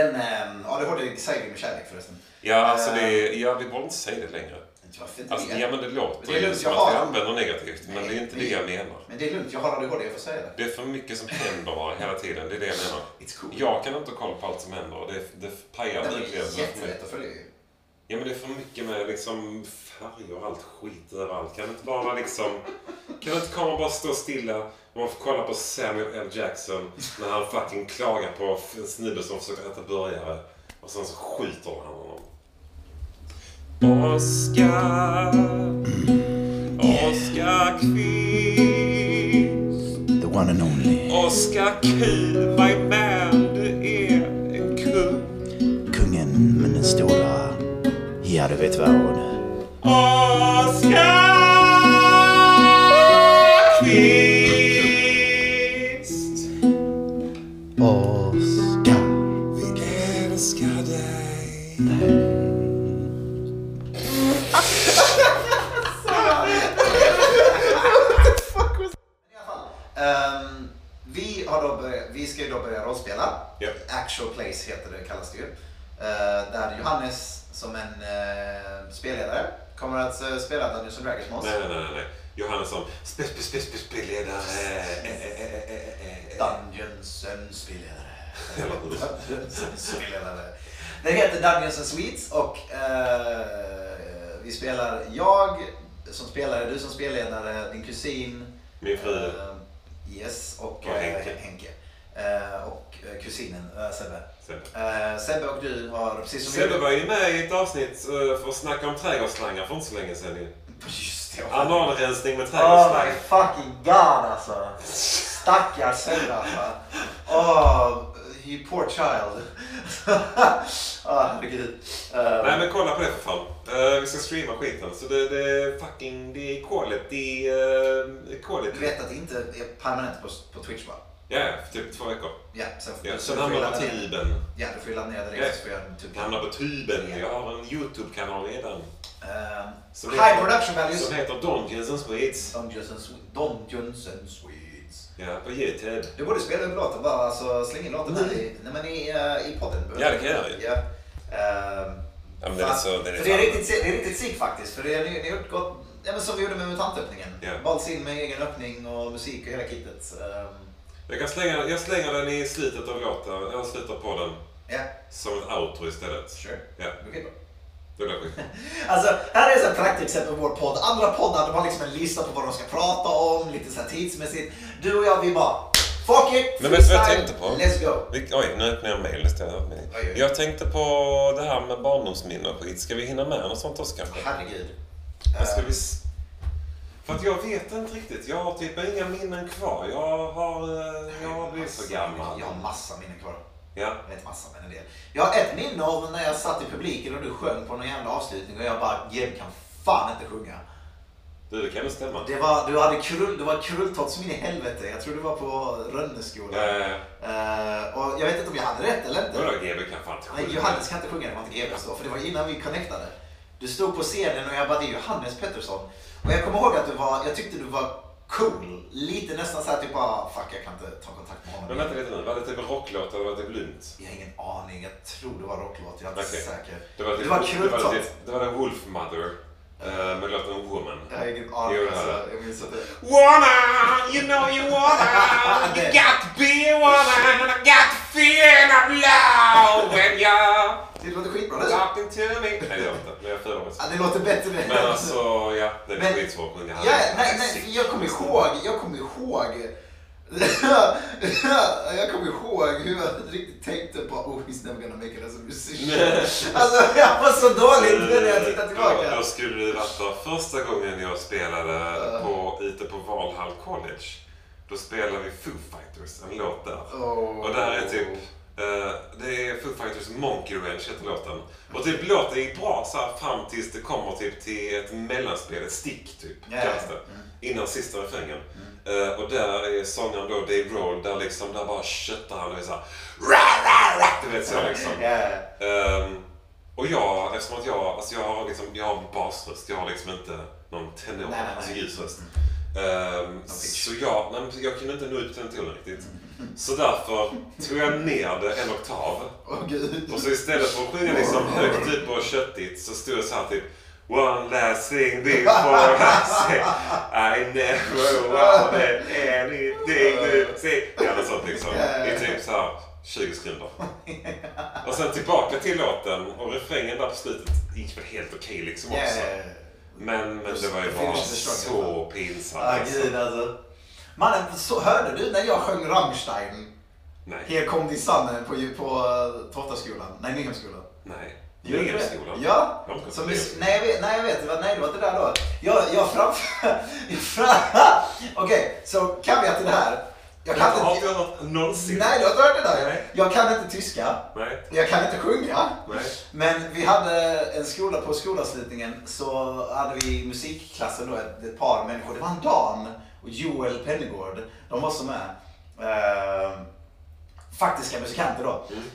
Den um, ADHD säger vi med kärlek förresten.
Ja, alltså
Eh,
det, ja, vi borde inte säga det längre.
Varför inte
Alltså,
det?
ja, men det låter
Det är
ju
lugnt,
som
jag
att vi
har-
använder negativt, men det är inte det
vi-
jag menar.
Men det är lugnt, jag har ADHD, jag får säga det.
Det är för mycket som händer bara hela tiden, det är det jag menar.
It's cool.
Jag kan inte ha koll på allt som händer och det, det pajar
Den är
upplevelsen för mig.
jättelätt att följa ju.
Ja men det är för mycket med liksom färger och allt skit överallt. Kan det inte bara vara liksom... Kan det inte komma och bara stå stilla och man får kolla på Samuel L. Jackson när han fucking klagar på en snubbe som försöker äta burgare och sen så skjuter han honom. Oskar Oskar Kvist
The one and only.
och
Oscar Q, my man, du är en kung.
Kungen med den stora... Ja, du vet vad.
Oscar Kvist.
Oskar.
Vi älskar dig.
Ehm, vi, har då börjat, vi ska ju då börja rollspela.
Ja.
Actual Plays heter det, kallas det ju. Eh, där Johannes som en eh, spelledare kommer att eh, spela Dungeons and Dragons med oss.
Nej, nej, nej, nej. Johannesson. Spelledare.
Dungeons and spelledare.
Eller hur?
Dungeons and spelledare. Det heter Dungeons and Sweets och eh, vi spelar jag som spelare, du som spelledare, din kusin.
Min fru.
eh, yes, och,
Och
eh,
Henke.
Henke. Eh, och eh, kusinen eh, Sebbe.
Sebbe.
Eh, Sebbe och du har precis som
Sebbe
vi...
var ju med i ett avsnitt eh, för att snacka om trädgårdsslangar för inte så länge sedan ju.
Just det.
Analrensning med
Oh my
trädgårdsslang.
fucking god alltså. Stackars Sebbe alltså. Oh, you poor child. Ah, herregud. Eh,
Nej men kolla på det för fan. Eh, vi ska streama skiten. Så det, det är fucking, det är quality, uh,
Du
quality.
vet att det inte är permanent på, på Twitch va?
Ja, ja, för typ två veckor.
Ja, sen får
Ja,
du,
sen
du får
hamnar
ju
jag på
ladda ner.
tuben.
Ja, du får ju ladda ner direkt
Ja.
så får jag en typ.
Hamnar på tuben. Jag har en YouTube-kanal redan.
Ehm,
Som
high
heter-
production values.
Som heter Donkeys and Sweets.
Dungeons and, Swe- Dungeons and Sweets.
Ja, på YouTube.
Du borde spela upp låten bara, alltså släng in låten här i, nej, men i, eh, i podden.
Ja, det kan jag göra ju.
Ja. Ehm,
Ja, men den är
fan.
så- den är
för det är
fan-
riktigt, se- det är riktigt sick faktiskt. För det är, ni, ni har gjort gott, ja men som vi gjorde med mutantöppningen.
Ja.
Valts in med egen öppning och musik och hela kittet. Ehm,
Jag, kan slänga, jag slänger den i slutet av låten, eller slutet av podden.
Ja,
Som ett outro istället.
sure.
Ja,
Okej då.
det blir skit.
Alltså, här är ett praktexempel på vår podd. Andra poddar de har liksom en lista på vad de ska prata om, lite så här tidsmässigt. Du och jag, vi bara fuck it!
Men vet du vad jag
freestyle,
tänkte på?
Let's go!
Vi- Oj, nu öppnar jag mail istället. för mail.
Oj, oj.
Jag tänkte på det här med barndomsminnen och skit. Ska vi hinna med något sånt också kanske?
Herregud.
Eller Ska
Eh,
vi... s- För att jag vet inte riktigt. Jag har typ inga minnen kvar. Jag har... eh, Jag har blivit för gammal.
Jag har massa minnen kvar.
Ja.
Eller inte massa, men en del. Jag har ett minne av när jag satt i publiken och du sjöng på någon jävla avslutning och jag bara, Jim kan fan inte sjunga.
Du, det kan väl stämma?
Det var, du hade krull, det var krulltott som in i helvete. Jag tror du var på Rönneskolan.
Eh,
Eh, och jag vet inte om jag hade rätt eller inte.
Vadå GB kan fan inte
Nej,
sjunga.
Johannes kan inte sjunga det var inte GW så, för det var innan vi connectade. Du stod på scenen och jag bara, det är Johannes Pettersson. Och jag kommer ihåg att du var, jag tyckte du var cool. Lite nästan så här typ bara, fuck jag kan inte ta kontakt med
Men
honom.
vänta lite nu. Var det typ en rocklåt eller var det typ lunt?
Jag har ingen aning, jag tror det var rocklåt, jag är inte
Okej.
säker.
Det var, typ,
Det var
det var,
krulltott.
typ, det var en Wolf Mother eh, med låten Woman.
Jag har ingen aning
Jo, det
alltså.
var
Jag minns att det...
Woman, you know you woman, you got to be a woman, I got the feeling of love when you're
Det låter skitbra nu.
talking to me.
Nej, det gör jag inte. Men jag föredrar mig så.
Ja, det låter bättre nu.
Men alltså, ja. Det är
Men-
skitsvårt att sjunga.
Ja, nej, nej, för jag kommer ihåg, jag kommer ihåg. jag kommer ihåg hur jag riktigt tänkte på oh he's never gonna make it as a musician.
Nej.
alltså jag var så dålig nu när jag tittar
Då,
tillbaka.
då skulle det varit då första gången jag spelade
Ja.
på, ute på Valhall College. Då spelade vi Foo Fighters, en låt där.
Oh.
Och där är typ, eh, det är Foo Fighters Monkey Ranch heter låten. Och typ låten gick bra så här fram tills det kommer typ till ett mellanspel, ett stick typ,
Ja, Mm. ja.
kallas det. Innan sista refrängen. Eh, och där är sångaren då Dave Roll, där liksom, där bara köttar han och är såhär ra, ra, ra, Du vet så liksom.
Ja.
Ehm, och jag, eftersom att jag, alltså jag har liksom, jag har en basröst. Jag har liksom inte någon tenor,
Nej, nej,
alltså
nej. Mm.
ljusröst. Ehm, så jag, nej, men jag kunde inte nå ut till den tonen riktigt. Så därför tog jag ner det en oktav.
Åh gud.
Och så istället för att sjunga liksom högt typ och köttigt så stod jag så här typ One last thing before I say I never wanted anything to say Ja, något sånt liksom. I typ så här 20 sekunder. Och sen tillbaka till låten och refrängen där på slutet gick väl helt okej liksom
Ja,
också.
ja, ja.
Men, men det var ju bara så pinsamt
Ah,
alltså.
gud alltså. Mannen, så hörde du när jag sjöng Rammstein?
Nej,
Here kom the sun på, på eh, Toftaskolan, nej Nyhemskolan.
nej.
Gjorde du det?
Ledarskolan.
Ja.
Jag har inte gått
Som
på
vi,
ledarskolan.
nej, jag vet, nej, jag vet. Det var, nej, det var inte där då. Jag, jag framför... jag fram, Okej, så kan vi till det här.
Jag
Jag kan
har
inte...
inte hört någonsin.
Nej, du har inte hört det där.
Nej.
Jag kan inte tyska.
Nej.
Jag kan inte sjunga.
Nej.
Men vi hade en skola, på skolavslutningen så hade vi i musikklassen då ett, ett par människor. Det var en Dan och Joel Pennegård. De var som med. Eh, faktiska musikanter då.
Mm.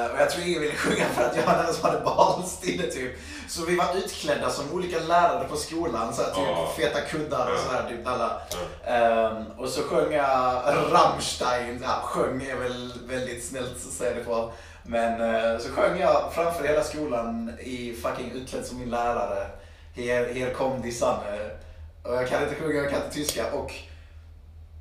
Eh, och jag tror ingen ville sjunga för att jag var den som hade barnstille typ. Så vi var utklädda som olika lärare på skolan. Så här, typ
Ja.
feta kuddar och så här, typ alla.
Ja.
Eh, och så sjöng jag Rammstein. Ja, sjöng är väl väldigt snällt att säga det på. Men eh, så sjöng jag framför hela skolan i fucking utklädd som min lärare. Här, här kom de sanne. Och jag kan inte sjunga, jag kan inte tyska. Och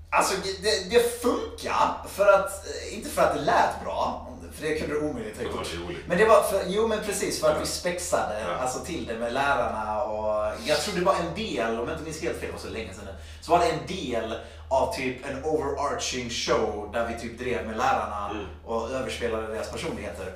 Alltså det, det funkar för att, eh, inte för att det lät bra, för det kunde du omöjligt ha
Det var
gjort.
roligt.
Men det var, för, jo men precis, för att vi spexade
Ja.
alltså, till det med lärarna och jag tror det var en del, om jag inte minns helt fel, det var så länge sedan nu, så var det en del av typ en overarching show där vi typ drev med lärarna
Mm.
och överspelade deras personligheter.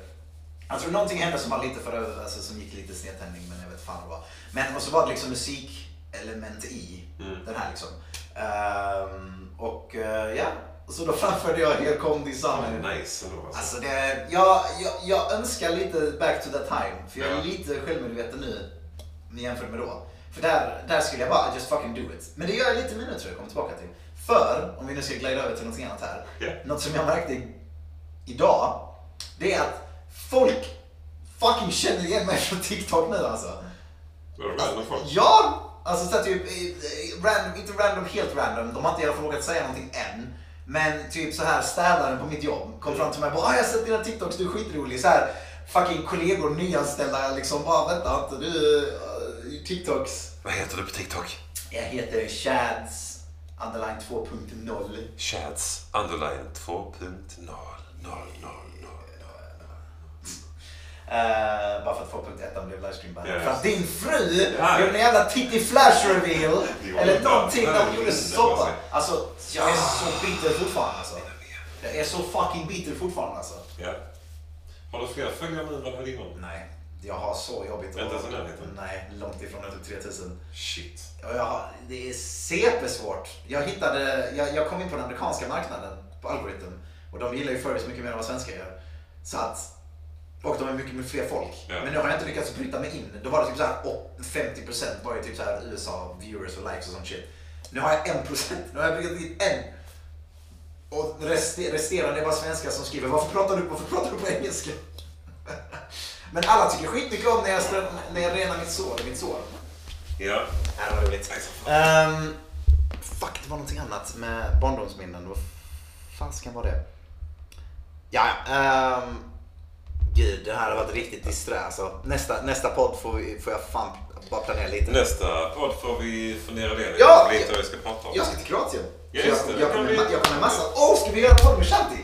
Jag tror någonting hände som Alltså, var lite för, alltså, som gick lite snedtändning men jag vet fan vad det var. Men och så var det liksom musikelement i den här liksom. Ehm, och eh, ja, så då framförde jag Here Come The Sun.
Nice ändå alltså.
Alltså det, jag, jag, jag önskar lite back to the time. För jag är
Ja.
lite självmedveten nu jämfört med då. För där, där skulle jag bara just fucking do it. Men det gör jag lite nu tror jag kommer tillbaka till. För, om vi nu ska glida över till någonting annat här.
Ja.
Något som jag märkte idag. Det är att folk fucking känner igen mig från TikTok nu alltså.
Det var random folk.
Ja! Alltså så här, typ, eh, eh, random, inte random, helt random. De har inte i alla fall vågat säga någonting än. Men typ så här städaren på mitt jobb kom fram till mig och bara ah, “Jag har sett dina TikToks, du är skitrolig”. Så här, fucking kollegor, nyanställda liksom bara “Vänta inte, du eh, TikToks”.
Vad heter du på TikTok?
Jag heter Chads underline 2.0.
Chads underline 2.0.
Eh, bara för att 2.1 blev livestreamband.
Ja,
För att din fru
Ja.
gjorde en jävla titty flash reveal.
Det var
eller
inte-
någonting
det
där
var
hon gjorde
inte
soppa.
bara sig.
Alltså, jag är så bitter fortfarande alltså. Jag är så fucking bitter fortfarande alltså.
Ja. Har du fler följare nu än vad du hade innan?
Nej, jag har så jobbigt.
Inte ens den här liten?
Nej, långt ifrån. Jag typ tog 3000.
Shit.
Och jag har, det är CP-svårt. Jag hittade, jag, jag kom in på den amerikanska marknaden på algoritm. Och de gillar ju furries mycket mer än vad svenskar gör. Så att, och de är mycket, mycket fler folk.
Ja.
Men nu har jag inte lyckats bryta mig in. Då var det typ såhär åt- 50% var ju typ såhär USA viewers och likes och sånt shit. Nu har jag 1%. Nu har jag brytt in en. Och reste- resterande är bara svenskar som skriver varför pratar du, varför pratar du på engelska? Men alla tycker skitmycket om när jag, strö- när jag renar mitt sår, mitt sår.
Ja.
Ja, det var roligt. Ehm, fuck, det var någonting annat med barndomsminnen. Vad fasken var det? Ja, ehm, gud, det här har varit riktigt disträ alltså. Nästa, nästa podd får, vi, får jag fan bara planera lite.
Nästa podd får vi fundera igenom
Ja!
lite vad vi ska prata om.
Jag ska till Kroatien.
Ja,
Så
just det,
jag,
det
jag,
kan
kommer,
bli-
ma- jag kommer massa... Åh, ska vi göra en podd med Shanti?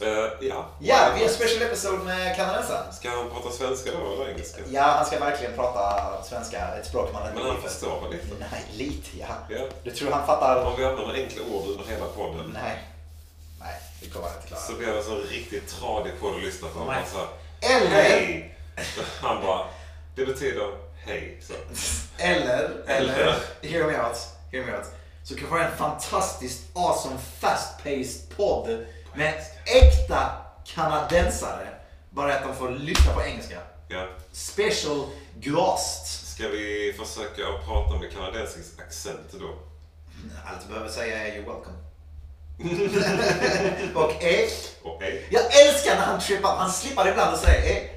Eh, ja.
Ja, vi gör en special episode med kanadensaren.
Ska han prata svenska då eller engelska?
Ja, han ska verkligen prata svenska, ett språk man inte
Men han förstår väl lite?
Nej, lite ja.
Ja.
Du tror han fattar?
Om vi använder enkla ord under hela podden
Nej. Nej, det kommer han inte klara.
så blir det en sån riktigt tradig podd att lyssna på.
Nej.
Man så här,
Eller...
hej! Han bara, det betyder hej. Så.
Eller, eller,
Eller.
hear me out, hear me out. Så kanske jag har en fantastiskt awesome fast-paced podd med äkta kanadensare. Bara att de får lyssna på engelska.
Ja.
Special guest.
Ska vi försöka att prata med kanadensisk accent då?
Allt du behöver säga är you're welcome. och eh,
Och E. hej.
jag älskar när han trippar, han slippar ibland och säger eh.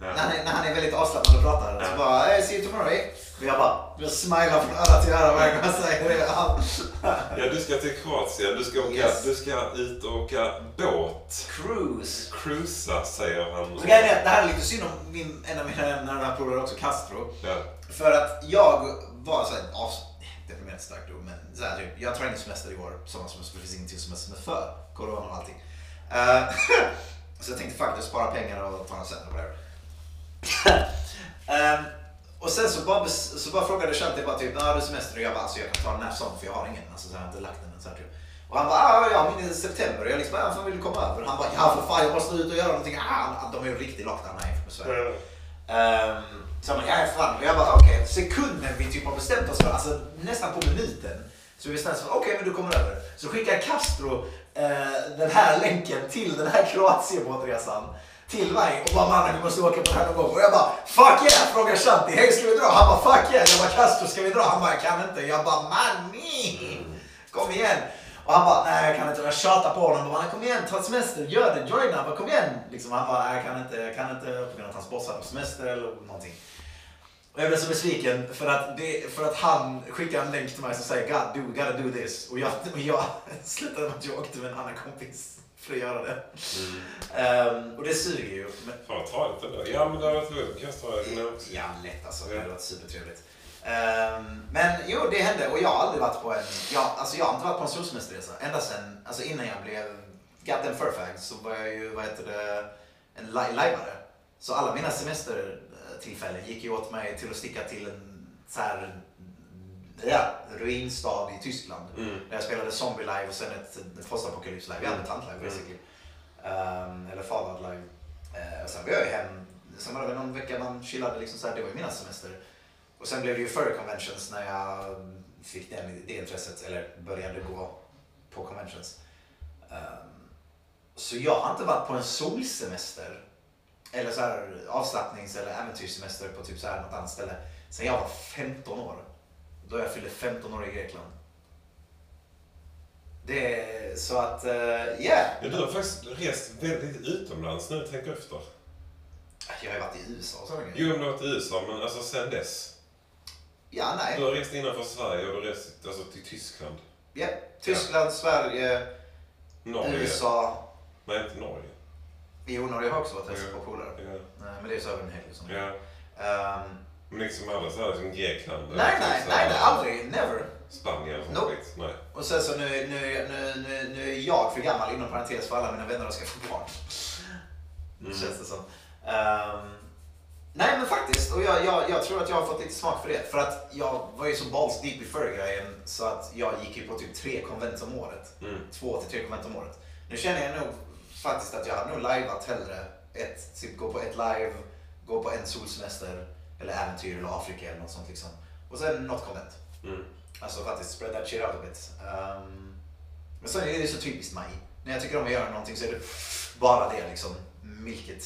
Ja.
När han, är, när han är väldigt avslappnad och pratar. Så bara, hey, see you tomorrow, eh. Och jag bara, jag smilar från öra till öra varje gång han säger det.
Ja, du ska till Kroatien. Du ska, åka,
Yes.
du ska ut och åka båt.
Cruise.
Cruisa, säger han.
Så grejen är att det här är lite synd om min, en av mina nära polare också, Castro.
Ja.
För att jag var så här, as, deprimerad är ett starkt ord, men så här, typ, jag tar ingen semester i år, sommarsemester, för det finns ingenting som är som är för corona och allting. Eh, så jag tänkte faktiskt spara pengar och ta en semester på det här. Ehm, och sen så bara, bes- så bara frågade Shanti bara typ, när har du semester? Och jag bara, alltså jag kan ta den här som för jag har ingen. Alltså, så jag har inte lagt den än. Så här, typ. Och han bara, ah, ja min är i september. Och jag liksom, ah, fan vill du komma över? Och han bara, ja för fan jag måste ut och göra någonting. Ah, de är ju riktigt lockdown här jämfört med Sverige. Ehm, så jag bara, ja fan. Och jag bara, okej. Sekunden vi typ har bestämt oss för, alltså nästan på minuten. Så Så vi snälla sa, okej men du kommer över. Så skickar Castro eh, den här länken till den här Kroatien-båtresan till mig och bara mannen vi måste åka på den här någon gång. Och jag bara fuck yeah! Frågar Shanti, hej ska vi dra? Han bara fuck yeah! Jag bara Castro ska vi dra? Han bara jag kan inte. Jag bara manni! Kom igen! Och han bara nej jag kan inte. Och Jag tjatar på honom. Jag bara, kom igen ta ett semester, gör det, joina, bara, kom igen! Liksom, han bara nej jag kan inte, jag kan inte på grund av att hans boss hade på semester eller någonting. Och jag blev så besviken för att, det, för att han skickade en länk till mig som säger God, du gotta do this. Och jag, och jag slutade med att jag åkte med en annan kompis för att göra det. Ehm, och det suger ju. Men,
Fan vad tradigt ändå. Ja men det har varit lugnt. Kan jag ta det nu också?
ja, lätt alltså. Det hade varit supertrevligt. Ehm, men jo, det hände. Och jag har aldrig varit på en... Jag, alltså, jag har inte varit på en solsemesterresa. Ända sen, alltså innan jag blev Goddamn Fairfax så var jag ju, vad heter det, en li- lajvare. Så alla mina semestertillfällen gick ju åt mig till att sticka till en så här ja, ruinstad i Tyskland. Där jag spelade Zombie live och sen ett, ett postapokalyps live. Jag hade tant live basically. Ehm, eller Fallout live. Eh, och sen var jag ju hem. Sen var det väl någon vecka man chillade liksom så här. Det var ju mina semester. Och sen blev det ju Furry Conventions när jag mm, fick den, det intresset. Eller började gå på conventions. Ehm, så jag har inte varit på en solsemester. Eller så här avslappnings eller äventyrssemester på typ så här något annat ställe. Sen jag var 15 år. Då jag fyllde 15 år i Grekland. Det är så att, eh, yeah.
Men du har faktiskt rest väldigt utomlands nu, tänk efter.
Jag har ju varit i USA och sådana grejer.
Jo, men du har varit i USA, men alltså sen dess.
Ja,
Du
nej.
har rest innanför Sverige och du har rest alltså, till Tyskland.
Ja. Tyskland, Sverige,
Norge.
USA.
Nej, inte Norge.
Jo, Norge har också varit hälsa
Ja.
på polare.
Ja.
Nej, Men det är så över en helg och sånt.
ja.
Ehm,
Men liksom alla så här, liksom Grekland. eller
nej,
typ
nej,
så här
nej, nej, aldrig. Never.
Spanien och sånt
Nope.
skit. Nej.
Och sen så nu, nu, nu, nu, nu är jag för gammal inom parentes för alla mina vänner har skaffat barn.
Mm.
Känns det som. Ehm, nej men faktiskt, och jag, jag, jag tror att jag har fått lite smak för det. För att jag var ju så balls deep i förr-grejen så att jag gick ju på typ tre konvent om året.
Mm.
Två till tre konvent om året. Nu känner jag nog faktiskt att jag hade nog lajvat hellre. Ett, typ gå på ett live, gå på en solsemester eller äventyr eller Afrika eller något sånt liksom. Och sen något konvent.
Mm.
Alltså faktiskt spread that shit out a bit. Ehm, men sen är det ju så typiskt mig. När jag tycker om att göra någonting så är det bara det liksom. Milket.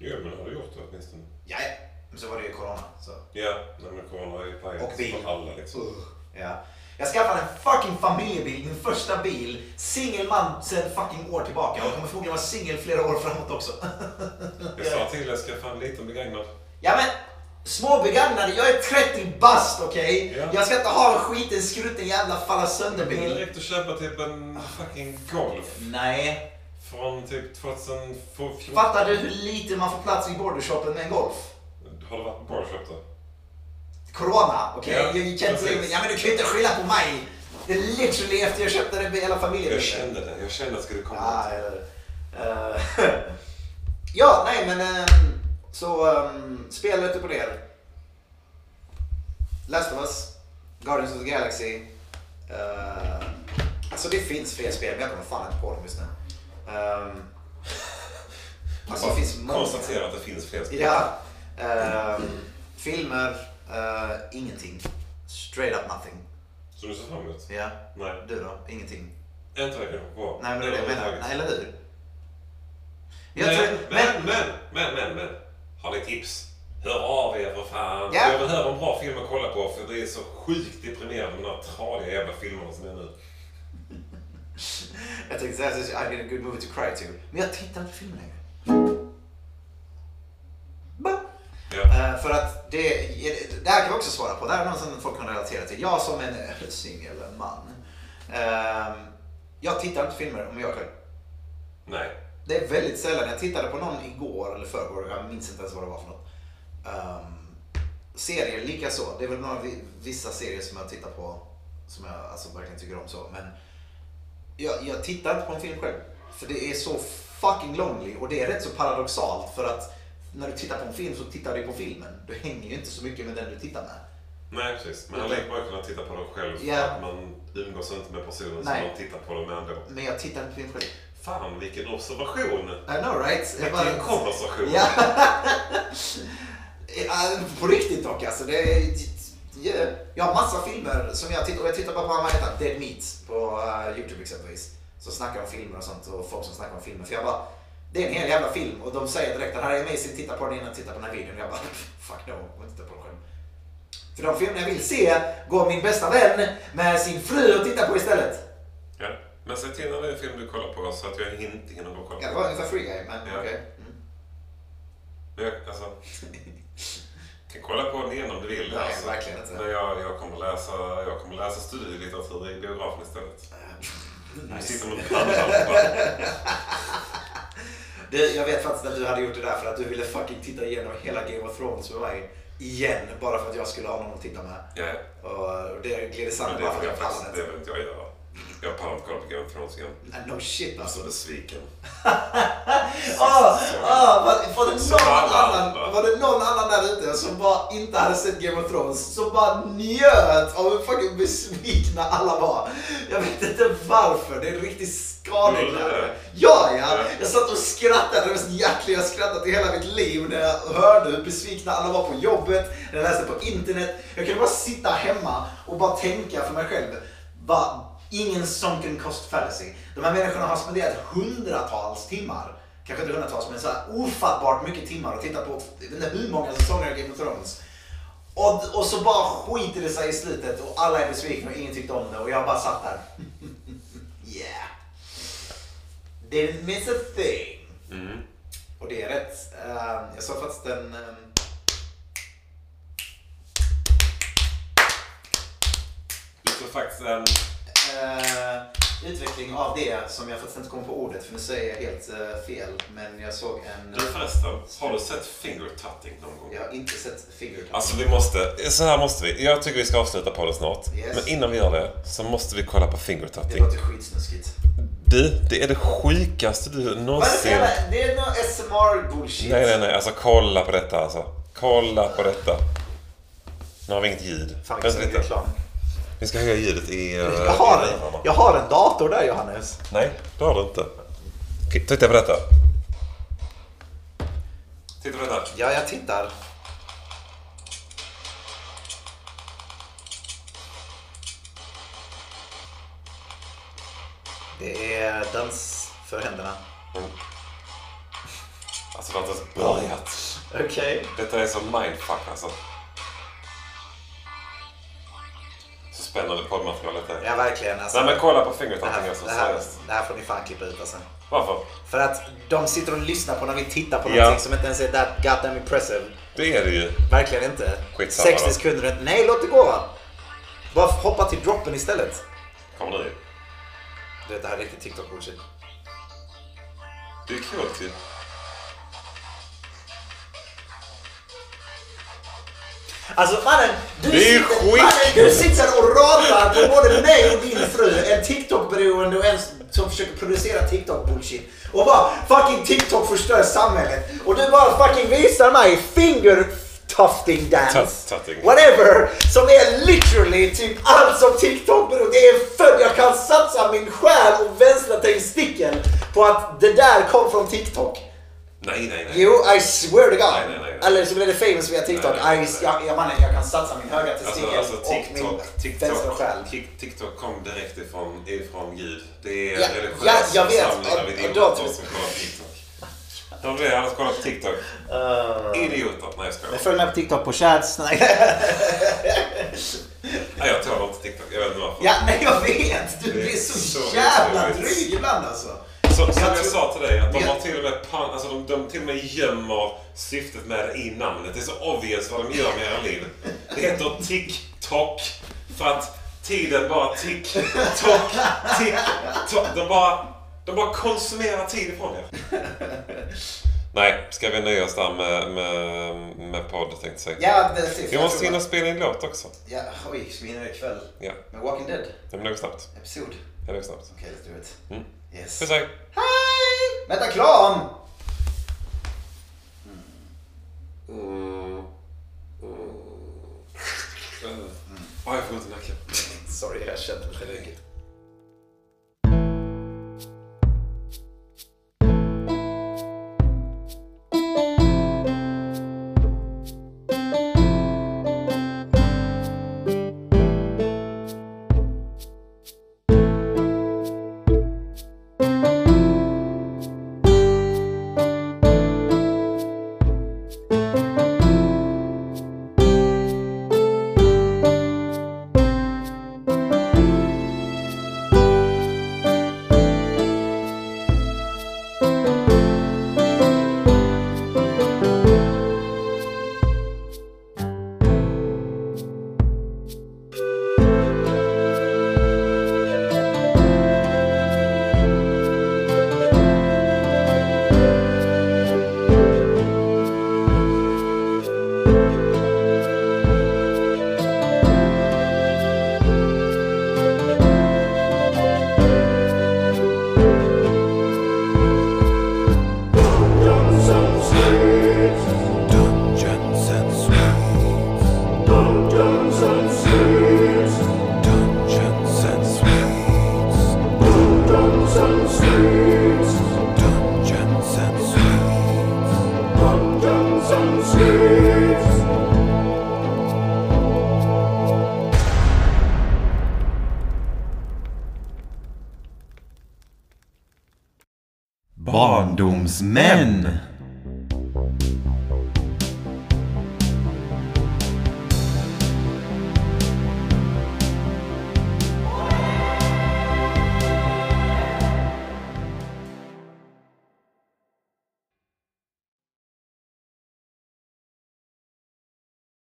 Jo, men det har du gjort det åtminstone.
Ja, ja. Men så var det ju corona. Så.
Ja, nej, men corona är ju pajet
Och bil.
för alla liksom.
Ugh, Ja. Jag skaffade en fucking familjebil, min första bil. Singel man sedan fucking år tillbaka. Jag kommer förmodligen vara singel flera år framåt också.
Jag sa till dig, skaffa en liten begagnad.
Ja men, småbegagnade. Jag är 30 bast okej?
Ja.
Jag ska inte ha en skiten skrutten jävla falla sönder
Det är
bil. Ah.
direkt att köpa typ en fucking Golf
Nej.
från typ 2014.
Fattar du hur lite man får plats i bordershopen med en Golf?
Har du varit på barshop då?
Corona, okej?
Ja,
jag gick inte
precis.
in, ja men du kan ju inte skylla på mig! Det är literally efter jag köpte den med hela familjen.
Jag kände det. Jag kände att det skulle komma.
Ja, eller, eh, ja, nej men eh, så um, spel lite på det. Last of Us, Guardians of the Galaxy. eh, alltså det finns fler spel men jag kommer fan inte på dem just nu. Ehm, alltså det
Bara
finns många.
Konstatera att det finns fler spel.
Ja. ehm, filmer, eh, ingenting. Straight up nothing.
Som du ser fram emot?
Ja.
Nej.
Du då? Ingenting?
Inte vad jag kan på.
Nej men det är det jag menar. Nej, eller hur? Jag
men,
tror,
men,
men,
men, men, men, men. Har ni tips? Hör av er för fan.
Ja.
Jag vill höra om bra film att kolla på för det är så sjukt deprimerande med de här tradiga jävla filmerna som är nu.
jag tänkte säga att I need a good movie to cry to. Men jag tittar inte på film längre. Ba.
Ja.
Eh, för att det, det här kan vi också svara på. Det här är något som folk kan relatera till. Jag som en eh, singel man. ehm, jag tittar inte på filmer om jag är själv.
Nej.
Det är väldigt sällan. Jag tittade på någon igår eller förrgår. Jag minns inte ens vad det var för något. Ehm, serier likaså. Det är väl några vi- vissa serier som jag tittar på som jag alltså, verkligen tycker om. så. Men jag, jag tittar inte på en film själv. För det är så fucking lonely. Och det är rätt så paradoxalt. För att när du tittar på en film så tittar du på filmen. Du hänger ju inte så mycket med den du tittar med.
Nej, precis. Man har lika bra kunnat titta på dem själv för
Ja.
att man umgås inte med personen som
Nej.
man tittar på dem med ändå.
Men jag tittar inte på film själv.
Fan, vilken observation!
I know right? Jag
Vilken konversation!
Ja. Eh, På riktigt dock alltså. Det är, jag- jag har massa filmer som jag tittar och jag tittar bara på vad heter han? Dead Meat på eh, Youtube exempelvis. Så snackar de om filmer och sånt och folk som snackar om filmer. För jag bara, det är en hel jävla film och de säger direkt den här är amazing, titta på den innan titta på den här videon. Och jag bara, fuck no, jag vill inte titta på den själv. För de filmer jag vill se går min bästa vän med sin fru och tittar på istället.
Ja. Men se till när det är film du kollar på så att jag inte hinner gå och kolla.
Ja, det var ungefär Free Guy, men
Ja.
okej. Mm.
Men jag, alltså, kan kolla på den igen om du vill.
Nej,
alltså.
verkligen inte.
Men jag, jag, kommer läsa, jag kommer läsa studielitteratur i biografen istället. Jag sitter med en pannlampa.
Du, jag vet faktiskt att du hade gjort det där för att du ville fucking titta igenom hela Game of Thrones med mig. Igen, bara för att jag skulle ha någon att titta med.
Ja,
Och det gled
men
isär
det
bara
får
för att jag
jag faktiskt det
pallade
vill inte jag göra. Jag pallar inte kolla på Game of Thrones igen. Jag
inte. No shit
är Så
alltså.
besviken.
Ah, ah, var, var, det
Så
någon
alla
annan,
andra.
var det någon annan där ute som bara inte hade sett Game of Thrones som bara njöt av hur fucking besvikna alla var? Jag vet inte varför, det är riktigt skadligt.
Gjorde du det?
Ja, ja.
Ja.
Jag satt och skrattade, det mest hjärtliga jag skrattat i hela mitt liv när jag hörde hur besvikna alla var på jobbet, när jag läste på internet. Jag kunde bara sitta hemma och bara tänka för mig själv. Bara, ingen sunken cost fallacy. De här människorna har spenderat hundratals timmar, kanske inte hundratals men så här ofattbart mycket timmar och tittat på, jag vet inte hur många säsonger av Game of Thrones. Och, och så bara skiter det sig i slutet och alla är besvikna och ingen tyckte om det och jag bara satt där. yeah. Didn't miss a thing.
Mm.
Och det är rätt. Eh, jag sa faktiskt en... eh,
Du får faktiskt ehm, en...
eh, utveckling av det som jag faktiskt inte kom på ordet för nu säger jag helt eh, fel. Men jag såg en...
Du förresten, har du sett finger tutting någon gång?
Jag har inte sett Finger
Alltså vi måste, så här måste vi. Jag tycker vi ska avsluta podden snart.
Yes.
Men innan vi gör det så måste vi kolla på finger
Det
tutting.
låter skitsnuskigt.
Du, det är det sjukaste du
Vad är det för
någonsin...
jävla- Det är någon SMR-bullshit.
Alltså, Nej, nej, nej. Alltså kolla på detta alltså. Kolla på detta. Nu har vi inget ljud. Vänta lite. Vi ska höja ljudet i... eh,
Jag har,
i
en,
lurarna.
jag har en dator där Johannes.
Nej, det har du inte. Okej, Titta på detta. Titta på detta.
Ja, jag tittar. Det är dans för händerna.
Mm. Alltså det har inte ens börjat.
Okej.
Detta är så mindfuck alltså. Så spännande poddmaterialet är.
Ja, verkligen. Alltså,
Nej men kolla på
det,
fingertapping
här,
alltså.
det, här,
seriöst.
det här får ni fan klippa ut alltså.
Varför?
För att de sitter och lyssnar på när vi tittar på
Ja.
någonting som inte ens är that goddamn impressive.
Det är det ju.
Verkligen inte.
Skitsamma
60
då.
sekunder är inte... Nej, låt det gå! Bara hoppa till droppen istället.
Kommer nu.
Du vet, det här är riktigt TikTok-bullshit.
Det är kul ju.
Alltså mannen, du,
Det är ju
sitter,
skit.
mannen, du sitter och ratar på både mig och din fru. En TikTok-beroende och en som försöker producera TikTok-bullshit. Och bara fucking TikTok förstör samhället. Och du bara fucking visar mig finger tufting dance.
Tut- tutting.
Whatever. Som är literally typ allt som TikTok beror Det är för jag kan satsa min själ och vänstra testikeln på att det där kom från TikTok.
Nej, nej, nej.
Jo, I swear to God.
Nej, nej, nej.
Eller så blir det famous via TikTok.
Nej, nej, nej.
I, jag, jag, mannen, jag kan satsa min högra
Alltså,
testikel
alltså TikTok,
och min vänstra
TikTok,
själ.
Tik- TikTok kom direkt ifrån, ifrån Gud. Det är
Ja,
religiösa
ja, jag vet.
församlingar
Och-
vid
och
Indien
då-
som kollar på TikTok. De blir annars kollar på TikTok.
Uh.
Idioter. Nej, jag skojar.
Men följ med på TikTok på chats. Nej.
Nej, jag tål inte TikTok. Jag vet inte varför.
ja, nej, jag vet. Du
Det är
blir så,
så
jävla
otroligt.
dryg ibland alltså.
Så, som jag
tror-
sa till dig, att de
Ja.
har till och med pan, alltså de, de till och med gömmer syftet med det i namnet. Det är så obvious vad de gör med era liv. Det heter TikTok för att tiden bara tick, tock, tick, tock. De bara, de bara konsumerar tid ifrån er. Nej, ska vi nöja oss där med, med, med podd tänkte jag säga.
Ja, det är sist.
Vi
Jag
måste
tror
hinna
bara-
spela in låt också.
Ja, oj, ska vi hinna ikväll?
Ja,
Med Walking Dead,
det blir nog snabbt.
episod.
Det blir nog snabbt.
Okej, let's do it.
Mm.
Yes.
Puss hej!
Hej! Vänta, klan!
Mm. Mm. Mm. Åh, jag får ont i nacken.
Sorry, jag kände mig mycket.
Barndomsmän.